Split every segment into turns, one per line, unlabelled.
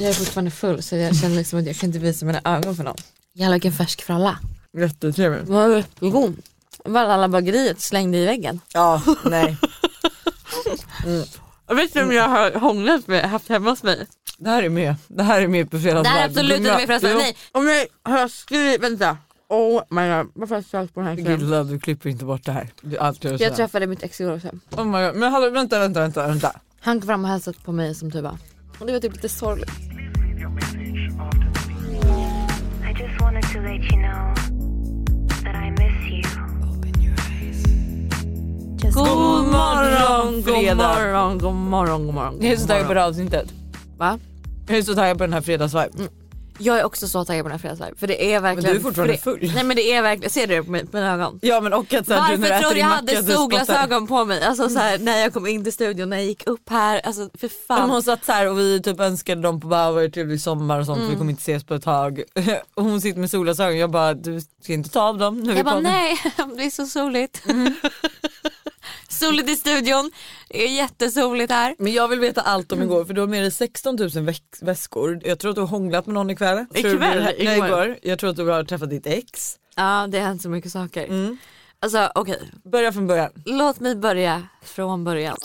Jag är fortfarande full så jag känner liksom att jag kan inte visa mina ögon för någon. Jävlar vilken färsk fralla.
Jättetrevlig.
Vad är det? Jo, Valhallabageriet slängde i väggen.
Ja, nej.
Och vet du vem jag har hånglat med, haft hemma hos mig?
Det här är med. Det här är med på
Det
fredags
här är
live.
absolut inte med förresten,
Jo.
nej.
Om jag har skrivit, vänta. Oh my god, varför har jag sökt på den här killen?
Gilla, du klipper inte bort det här. Det är allt jag,
Jag
jag
träffade mitt ex igår också.
oh my God. Men hallå, vänta, vänta, vänta. vänta.
Han kom fram och hälsade på mig som tuba. Och det var typ lite sorgligt.
I just wanted to let you know that I miss you. Just
God morgon, god
fredag.
morgon, god morgon, god morgon.
Jag är så taggad på det här avsnittet.
Va?
Jag är så taggad på den här fredagsvibe.
Jag är också så taggad på den här fredagslive. För det är verkligen.
du är fortfarande
för det,
full.
Nej men det är verkligen, ser du det på mi- på mina ögon?
Ja men och att så här, du när du
Varför
äter
tror du
din
jag
macka,
hade
du spottar.
solglasögon på mig? Alltså så här, när jag kom in till studion, när jag gick upp här. Alltså för
Men
fan.
hon satt så här och vi typ önskade dem på bara var trevlig sommar och sånt vi kommer inte ses på ett tag. Och hon sitter med solglasögon jag bara du ska inte ta av dem nu är vi
Jag bara
på den.
nej, det är så soligt. soligt i studion, det är jättesoligt här.
Men jag vill veta allt om igår för du har med dig 16 000 väx- väskor. Jag tror att du har hånglat med någon ikväll. Tror du-
Ikväll?
Nej
Igår.
igår. Jag tror att du har träffat ditt ex.
Ja det har hänt så mycket saker. Alltså okej,
Börja från början.
låt mig börja från början.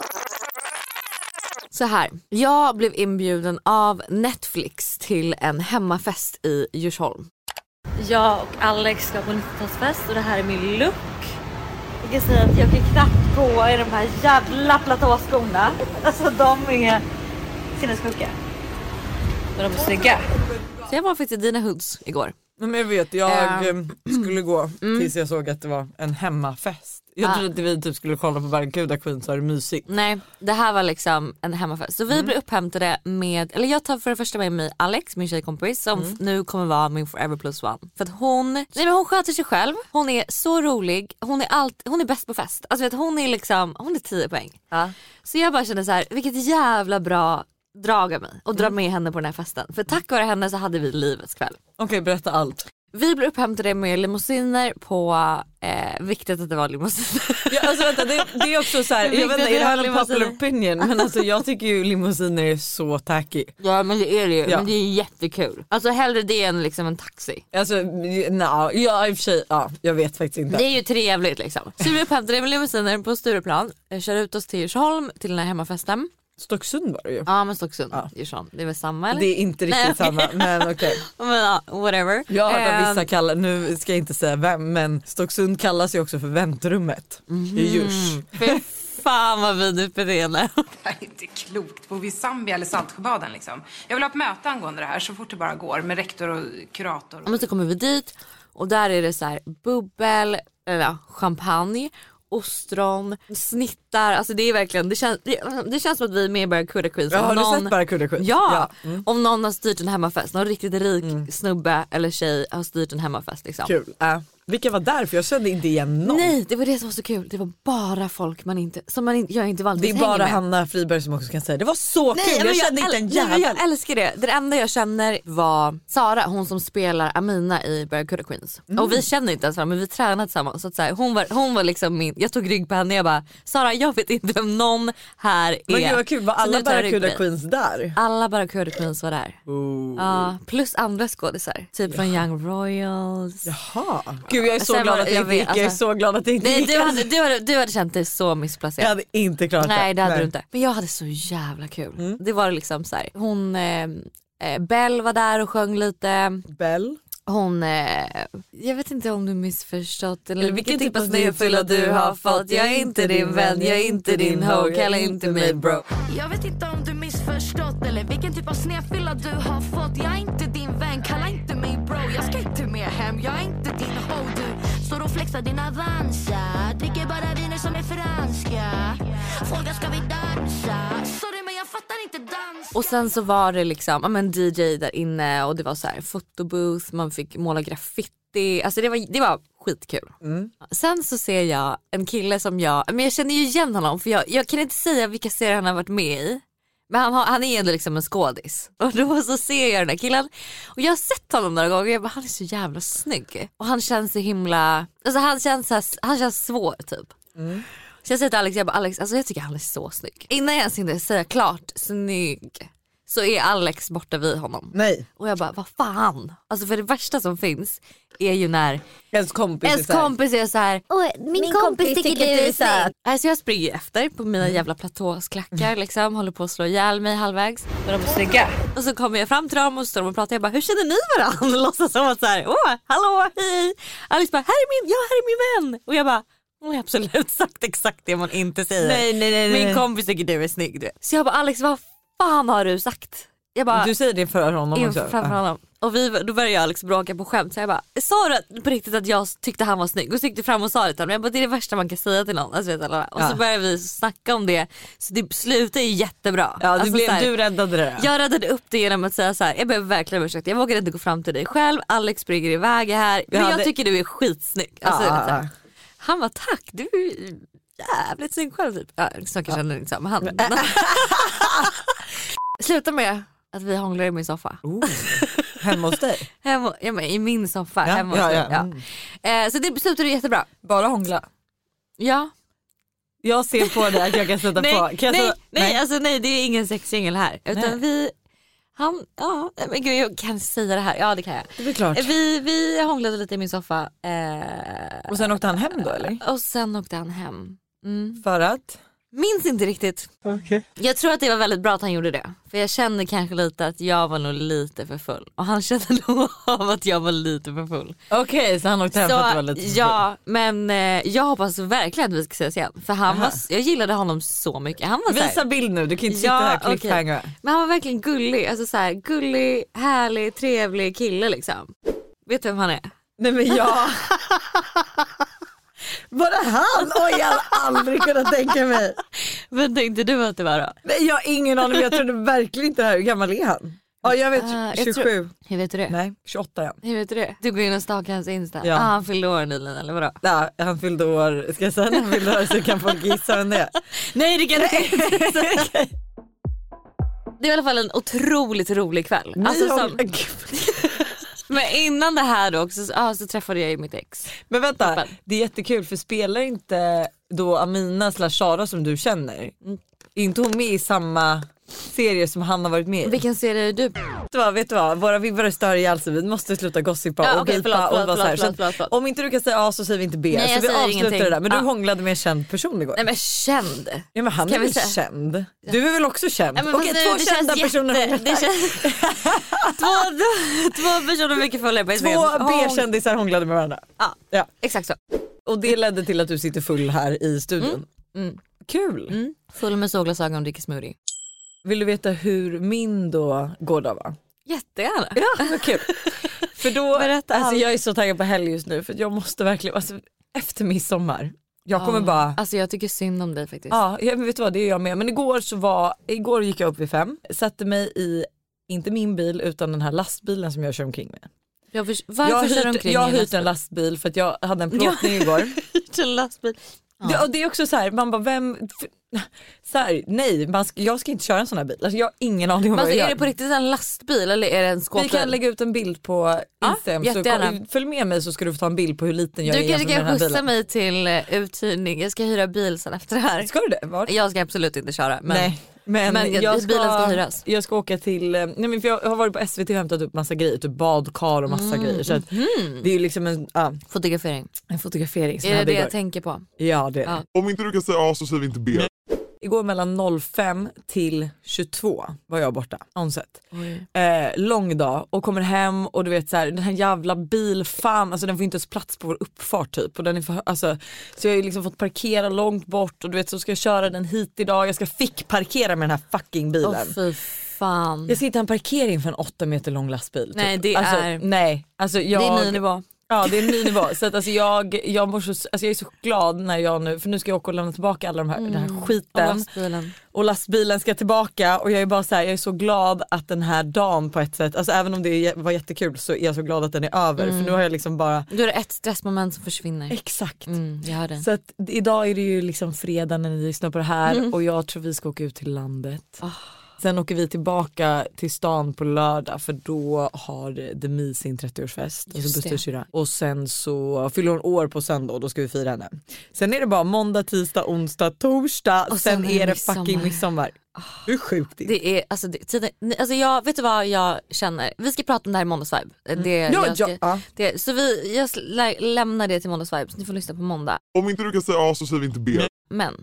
Så här, jag blev inbjuden av Netflix till en hemmafest i Djursholm.
Jag och Alex ska på 90-talsfest och det här är min look. Jag kan säga att jag kan knappt gå i de här jävla platåskorna. Alltså de är sinnessjuka. Men de är snygga.
Så jag var faktiskt i Dina Hoods igår.
Nej, Men jag vet jag
Eh,
eh, skulle gå tills jag såg att det var en hemmafest. Jag
Ah.
trodde att vi typ skulle kolla på Barracuda Queen så är det mysigt.
Nej, det här var liksom en hemmafest. Så
Mm.
vi blir upphämtade med, eller jag tar för det första med mig Alex, min tjejkompis som
Mm.
f- nu kommer vara min forever plus one. För att hon, nej men hon sköter sig själv, hon är så rolig, hon är, allt, hon är bäst på fest. Alltså vet, du, hon är liksom, hon är 10 poäng. Så jag bara kände så här, vilket jävla bra drag av mig och
Mm.
dra med henne på den här festen. För tack vare henne så hade vi livets kväll.
Okej berätta allt.
Vi blev upphämtade med limousiner på, eh, viktigt att det var limousiner.
Ja, alltså vänta, det, det är också så här,
Vilket
jag vet inte, är det här en
jävla
popular
limousiner.
opinion men alltså jag tycker ju limousiner är så tacky.
Ja men det är det ju,
Ja.
men det är jättekul. Alltså hellre det än liksom en taxi.
Alltså nja, ja i och för sig, ja, jag vet faktiskt inte.
Det är ju trevligt liksom. Så vi upphämtade med limousiner på Stureplan, eh, kör ut oss till Djursholm till den här hemmafesten.
Stocksund var det ju.
Ja men Stocksund,
Ja.
Djursholm, det är väl samma eller?
Det är inte
Nej,
riktigt
okej.
samma men okej.
Men ja, whatever.
Jag har hört att
Eh,
vissa kallar, nu ska jag inte säga vem men Stocksund kallas ju också för väntrummet
Mhm.
i Djurs.
Ehm, Fy fan vad vidrigt beteende.
Det här är inte klokt. Bor vi i Zambia eller Saltsjöbaden liksom? Jag vill ha ett möte angående det här så fort det bara går med rektor och kurator.
Men så kommer vi dit och där är det så här bubbel, eller ja, champagne, ostron, snittar. Alltså det är verkligen, det känns, det, det känns som att vi är med i Barracuda Queens.
Ja,
Om
har du
någon-
sett Barracuda Queen? Mm.
Ja, Mm. om någon har styrt en hemmafest, någon riktigt rik snubbe eller tjej har styrt en hemmafest liksom.
Kul. Äh, vilka var där? För jag kände inte igen någon.
Nej det var det som var så kul, det var bara folk man inte, som man inte, jag inte
Det
vanligtvis
är bara
hänger med.
Hanna Friberg som också kan säga det var så
Nej,
kul,
men
jag, kände inte en
äl- nej, men
jävel.
Jag älskar det. Det enda jag känner var Sara, hon som spelar Amina i Barracuda Queens.
Mm.
Och vi känner inte ens varandra men vi tränar tillsammans. Så att så här, hon, var, hon var liksom min, jag tog rygg på henne jag bara Sara jag vet inte vem någon här är.
Men gud vad kul, var
Så
alla
nu tar jag rygg på
Barracuda
dig.
Queens där?
Alla Barracuda Queens var där.
Oh.
Ja, plus andra skådisar. Typ från Young Royals.
Jaha. Gud jag är så
Sen
glad
var-
att det
jag
inte
vet,
gick, jag är
alltså-
så glad att det inte
Nej,
gick.
du, hade, du, hade, du hade känt dig så
Jag
missplacerad.
hade inte klarat
Nej det hade du inte. Men jag hade så jävla kul. Det var liksom så här, hon, eh, eh, Bell var där och sjöng lite.
Bell.
Hon, eh, jag vet inte om du missförstått eller
Eller
vilken typ av snöfylla du har fått. Jag är inte din vän, jag är inte din hoe, kalla inte mig bro.
Jag vet inte om du missförstått eller vilken typ av snedfylla du har fått Jag är inte din vän, kalla inte mig bro Jag ska inte med hem, jag är inte din ho Du står och flexar din Avanza Dricker bara viner som är franska Frågar ska vi dansa? Sorry men jag fattar inte dans
Och sen så var det liksom ja, men DJ där inne och det var så här fotobooth, man fick måla graffiti. Alltså det var, det var skitkul. Sen så ser jag en kille som jag, men jag känner ju igen honom för jag, jag kan inte säga vilka serier han har varit med i. Men han, har, han är ändå liksom en skådis. Och då så ser jag den här killen och jag har sett honom några gånger och jag bara han är så jävla snygg. Och han känns så himla, alltså han känns, så här, han känns svår typ. Så jag säger till Alex, jag bara Alex alltså jag tycker han är så snygg. Innan jag ens hinner säga klart snygg så är Alex borta vid honom.
Nej,
Och jag bara, vad fan? Alltså för det värsta som finns är ju när
ens kompis är
ens
så här-
kompis är så här, "Åh, min, kompis, tycker du är söt. Alltså jag springer ju efter på mina jävla platåsklackar
Mm.
liksom, håller på att slå ihjäl mig halvvägs.
Men de är snygga.
Och så kommer jag fram till dem och så står de och pratar. Jag bara, hur känner ni varandra? Låtsas som att så här, åh, hallå, hej. Alice bara, här är min, ja här är min vän. Och jag bara, hon har absolut sagt exakt det man inte säger.
Nej, nej, nej, nej.
Min kompis tycker du är snygg. Du. Så jag bara, Alex vad fan har du sagt? Jag bara,
Du säger det för honom också?
inför framför
Ja.
honom. Och vi, då började jag liksom bråka på skämt så jag bara, sa du att- på riktigt att jag tyckte han var snygg? Och så gick du fram och sa det till honom. Jag bara, det är det värsta man kan säga till någon. Alltså, vet alla. Och
Ja.
så började vi snacka om det. Så det slutade ju jättebra.
Ja, du,
Alltså, så
blev,
här-
du räddade det.
jag räddade upp det genom att säga så här. jag ber verkligen om ursäkt, jag vågar inte gå fram till dig själv, Alex springer iväg här, men
Ja,
jag
det-
tycker du är skitsnygg.
Ja,
Alltså,
ja,
så här. Han var tack, du är jävligt snygg själv typ. Ja, så kanske han är liksom, han. Sluta med att vi hånglar i min soffa.
ja. Oh. Hemma hos dig?
Hemma, ja, men I min soffa,
Ja,
hemma hos
ja,
mig.
ja.
ja. Eh, Så det slutade jättebra.
Bara hångla?
Ja.
Jag ser på dig att jag kan sätta
Nej,
på. Kan jag
nej,
sätta-
nej, alltså nej det är ingen sexsingel här. Utan
Nej.
vi, han, ja men gud jag kan säga det här, ja alltså, det kan jag.
Det är väl klart.
Vi, vi hånglade lite i min soffa eh,
Och sen åkte han hem då eller?
och sen åkte han hem. Mm.
För att?
Minns inte riktigt. Jag tror att det var väldigt bra att han gjorde det. För jag kände kanske lite att jag var nog lite för full. Och han kände nog av att jag var lite för full.
Okej, så han åkte hem för att det var lite för
ja, men eh, jag hoppas verkligen att vi ska ses igen. För han var, jag gillade honom så mycket. Han var
full.
så här-
Visa bild nu, du kan inte sitta
Ja,
här
okej.
cliffhanger.
Men han var verkligen gullig. Alltså så här, gullig, härlig, trevlig kille liksom. Vet du vem han är?
Nej men jag... Var det han? Oj jag hade aldrig kunnat tänka mig.
Vem tänkte du att det var då?
Nej, jag har ingen aning, jag trodde verkligen inte det här. Hur gammal är han? Ja jag vet,
Ah, jag
27.
tror- Hur vet du det?
Nej, 28 är han.
Hur vet du det? Du går in och stalkar hans Insta.
Ja.
Ah, han fyllde år nyligen eller vadå?
Ja, han fyllde år, ska jag säga när han fyllde år så kan folk gissa vem det är?
Nej det kan du inte. Det är i alla fall en otroligt rolig kväll. Alltså,
Ni-
som,
Gud.
men innan det här då också, så, ah, så träffade jag ju mitt ex.
Men vänta,
Toppen.
det är jättekul för spelar inte då Amina slash Sara som du känner, är inte hon med i samma serie som han har varit med i?
Vilken serie är du på?
Vet du vad, vet du vad? Våra vibbare stör ihjäl sig, vi måste sluta gossipa
Ja,
och
okej,
gripa
förlåt,
och vara
förlåt,
så här.
förlåt,
Så att
förlåt, förlåt.
Om inte du kan säga A så säger vi inte B.
Nej, jag
så vi
säger
avslutar
ingenting.
det där. Men du
Ja.
hånglade med en känd person igår.
Nej men känd.
ja, men han
ska
är
vi
väl
säga-
känd? Du är väl också känd?
Nej, men
Okej
fast nu,
två
det
kända
känns
personer
jätte-
hånglade.
det känns, två, två personer mycket fulla på
Två
Instagram.
B-kändisar hånglade med varandra.
Ja.
Ja.
Exakt så.
Och det ledde till att du sitter full här i studion.
Mm.
Kul!
Mm. Full med solglasögon och dricker smoothie.
Vill du veta hur min då gårdag var?
Jättegärna.
Ja, vad kul. för då,
Ah. Berätta
alltså,
allt.
jag är så taggad på helg just nu för att jag måste verkligen, alltså, efter midsommar, jag kommer
Ah.
bara
Alltså jag tycker synd om dig faktiskt.
Ja, ja men vet du vad det är jag med. Men igår så var, igår gick jag upp vid fem, sätter mig i, inte min bil utan den här lastbilen som jag kör omkring med.
Jag förs-
Jag
varför
har
kör du
hyrt,
omkring
jag har
i en
hyrt
lastbil?
en lastbil för att jag hade en plåtning igår.
Hyrt en lastbil.
Det, och det är också så här, man bara vem, för, så här, nej man ska, jag ska inte köra en sån här bil. Alltså, jag har ingen aning om
Men
vad
alltså,
jag
är
gör.
det på riktigt en lastbil eller är det en skåpbil?
Vi kan lägga ut en bild på
Ja,
Instagram så
jättegärna.
kom, följ med mig så ska du få ta en bild på hur liten jag
du
är
kanske
jämfört med
kan
den här
skjutsa
bilen.
mig till eh, uthyrning. Jag ska hyra bil sen efter det här.
Ska du det? Var?
Jag ska absolut inte köra men
nej. Men,
men jag- bilen ska hyras.
Jag ska åka till, eh, nej men för jag har varit på SVT och hämtat upp massa grejer, typ badkar
Mm.
och massa grejer. Så att Det är ju liksom en, ja,
fotografering.
en fotografering som
Mhm. Är det
jag
det
hade
jag
igår.
tänker på?
Ja det är
Ja.
det.
Om inte du kan säga A så säger vi inte B.
Igår mellan 05 till 22 var jag borta, onset. Eh, lång dag och kommer hem och du vet så här, den här jävla bilfan, alltså den får inte ens plats på vår uppfart typ. Och den är för, alltså, så jag har ju liksom fått parkera långt bort och du vet så ska jag köra den hit idag, jag ska fick parkera med den här fucking bilen.
Åh fy fan.
Jag ska hitta en parkering för en åtta meter lång lastbil.
Nej, det
alltså,
är-
Nej, alltså jag...
Det är ny nivå.
Ja det är en ny nivå. Så att alltså jag, jag, mår så, alltså jag är så glad när jag nu, för nu ska jag åka och lämna tillbaka alla de här, den här
Mm. Och
skiten
lastbilen.
och lastbilen ska tillbaka och jag är bara så här, jag är så glad att den här dagen på ett sätt, alltså även om det är- var jättekul så är jag så glad att den är över
Mm.
för nu har jag liksom bara
Då är det ett stressmoment som försvinner.
Exakt.
Mm, jag hör det.
Så att idag är det ju liksom fredag när ni lyssnar på det här
Mm.
och jag tror vi ska åka ut till landet.
Ah.
Sen åker vi tillbaka till stan på lördag för då har The Me sin 30-årsfest.
Just
Alltså
det.
Busters syrra. och sen så fyller hon år på söndag och då ska vi fira henne. Sen är det bara måndag, tisdag, onsdag, torsdag.
Och
Sen,
sen är
är det
midsommar. Ah.
fucking midsommar. Du är sjukt in.
Det är, alltså, det, tiden, ni- alltså jag, vet du vad jag känner? Vi ska prata om det här i måndagsvibe. Det,
Mm. Ja,
jag ska-
ja, ja.
Det, så vi, jag slä- lämnar det till måndagsvibe så ni får lyssna på måndag.
Om inte du kan säga A så säger vi inte B.
Men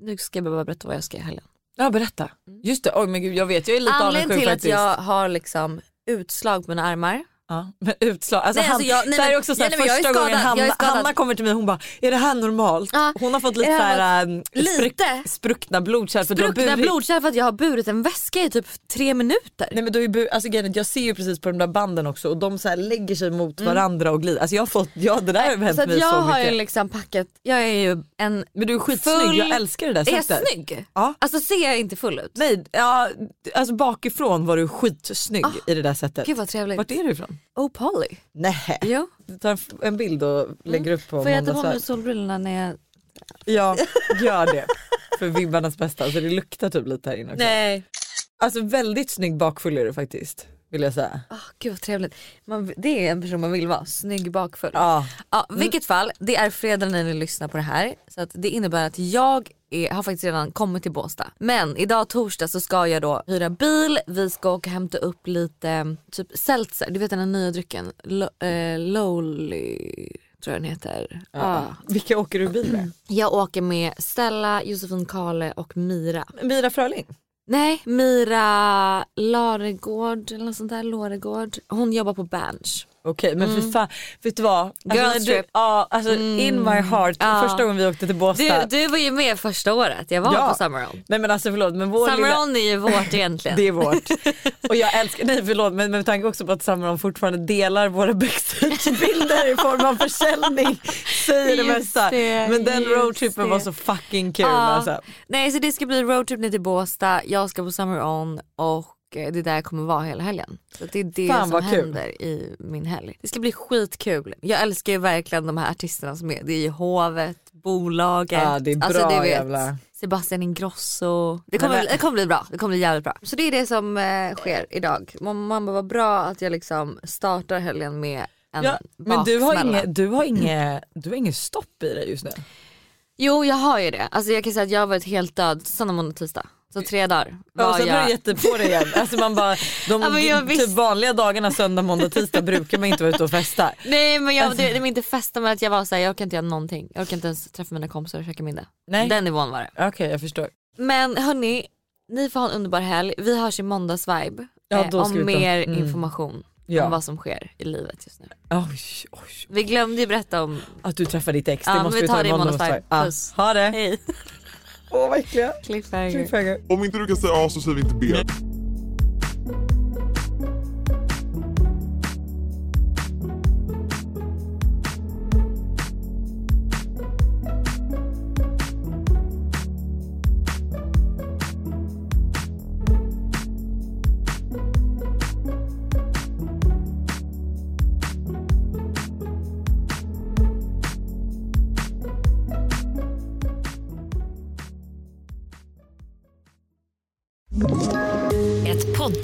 nu ska jag bara berätta vad jag ska i helgen.
Ja berätta. Just det, oj men gud jag vet jag är lite
Anledningen
avundsjuk
till att
faktiskt.
jag har liksom utslag på mina armar.
Ja, men utslag, alltså
Nej,
han,
alltså jag- nej,
det här är
men-
också så här,
nej, nej, men jag är
första gången
skadad, jag är
Hanna,
skadad.
Hanna kommer till mig hon bara är det här normalt?
Ja,
hon har fått lite
det här
såhär ähm,
lite.
spruck- spruckna blodkärl för du har
Spruckna
burit-
blodkärl för att jag har burit en väska i typ tre minuter.
Nej men då är bu- alltså, grejen är att jag ser ju precis på de där banden också och de så här lägger sig mot varandra och glider. Alltså jag har fått, ja det där har hänt
Mm. så att
mig
jag
så
har
mycket.
ju liksom packat, jag är ju en
Men du är skitsnygg,
full-
jag älskar det där
Är jag
sättet.
snygg?
Ja.
Alltså ser jag inte full ut?
Nej, ja, alltså bakifrån var du skitsnygg i det där sättet.
Ah. Gud vad trevligt.
Vart är du ifrån?
Oh Polly.
Nej.
Jo.
Du tar en f- en bild och lägger upp på
Får jag ta på mig
måndagsvärd.
solbrillorna när jag...
Ja, gör det. För vibbarnas bästa. Så det luktar typ lite här inne också.
Nej.
Alltså väldigt snygg bakfull är du faktiskt. Vill jag säga.
Oh, gud vad trevligt. Man, det är en person man vill vara, snygg bakfull.
Ja.
Ja, vilket fall, det är fredag när ni lyssnar på det här. Så att det innebär att jag är, har faktiskt redan kommit till Båstad. Men idag torsdag så ska jag då hyra bil, vi ska åka och hämta upp lite mm, typ seltzer, du vet den här nya drycken, Lo- eh, Lowly tror jag den heter. Ja.
Vilka åker du bil med?
Jag åker med Stella, Josefin Kale och Mira.
Mira Fröling.
Nej, Mira Laregård eller något sånt där, Låregård. Hon jobbar på Berns.
Okej men för fan, vet du vad? Alltså,
Mm. Girls
när du-
trip. Mm.
Ja, alltså in my heart.
Ja.
Första gången vi åkte till
Du,
Båstad.
du var ju med första året jag var
Ja.
på Summer On.
Nej men alltså förlåt men vår
Summer
lilla...
On är ju vårt egentligen.
Det är vårt. Och jag älskar, nej förlåt men med tanke också på att Samron fortfarande delar våra backstagebilder i form av försäljning säger det
Just
mesta.
det,
Men den
just
roadtrippen
det.
var så fucking kul
Ja.
alltså.
Nej så det ska bli roadtrip ner till Båstad, jag ska på Summer On och eh, det är där jag kommer vara hela helgen. Så det är det
Fan,
som
vad kul.
händer i min helg. Det ska bli skitkul. Jag älskar ju verkligen de här artisterna som är, det är ju hovet, bolaget, Alltså,
Ja, det är bra jävla-
Sebastian Ingrosso. Det kommer,
Men-
bli- det kommer bli bra, det kommer bli jävligt bra. Så det är det som eh, sker idag. Man, man bara, vad bra att jag liksom startar helgen med en
Ja, men du har,
baksmälla.
inget, du, har inget, du har inget stopp i dig just nu.
Jo jag har ju det. Alltså jag kan säga att jag har varit helt död söndag, måndag, tisdag. Så tre dagar
Ja, och
var
sen har
jag.
du gett dig på det igen. Alltså man bara, de
Ja, men jag
typ
visste-
vanliga dagarna söndag, måndag, tisdag brukar man inte vara ute och festa.
Nej men
Alltså.
jag, det, det var inte festa men att jag var såhär jag orkar inte göra någonting. Jag orkar inte ens träffa mina kompisar och käka middag.
Nej.
Den nivån var det.
Okej jag förstår.
Men hörni, ni får ha en underbar helg. Vi hörs i måndagsvibe. eh,
Ja, då ska vi
om
prata-
mer
mm.
information
Ja.
om vad som sker i livet just nu.
Oj, oj.
Vi glömde ju berätta om,
Att du träffar ditt ex,
Ja,
det
men
måste
vi
vi
tar
ta
det i måndagsvibe.
Ja,
Puss.
ha det.
hej,
Åh vad äckliga.
cliffhanger.
Cliffhanger.
Om inte du kan säga A så säger vi inte B.
Ett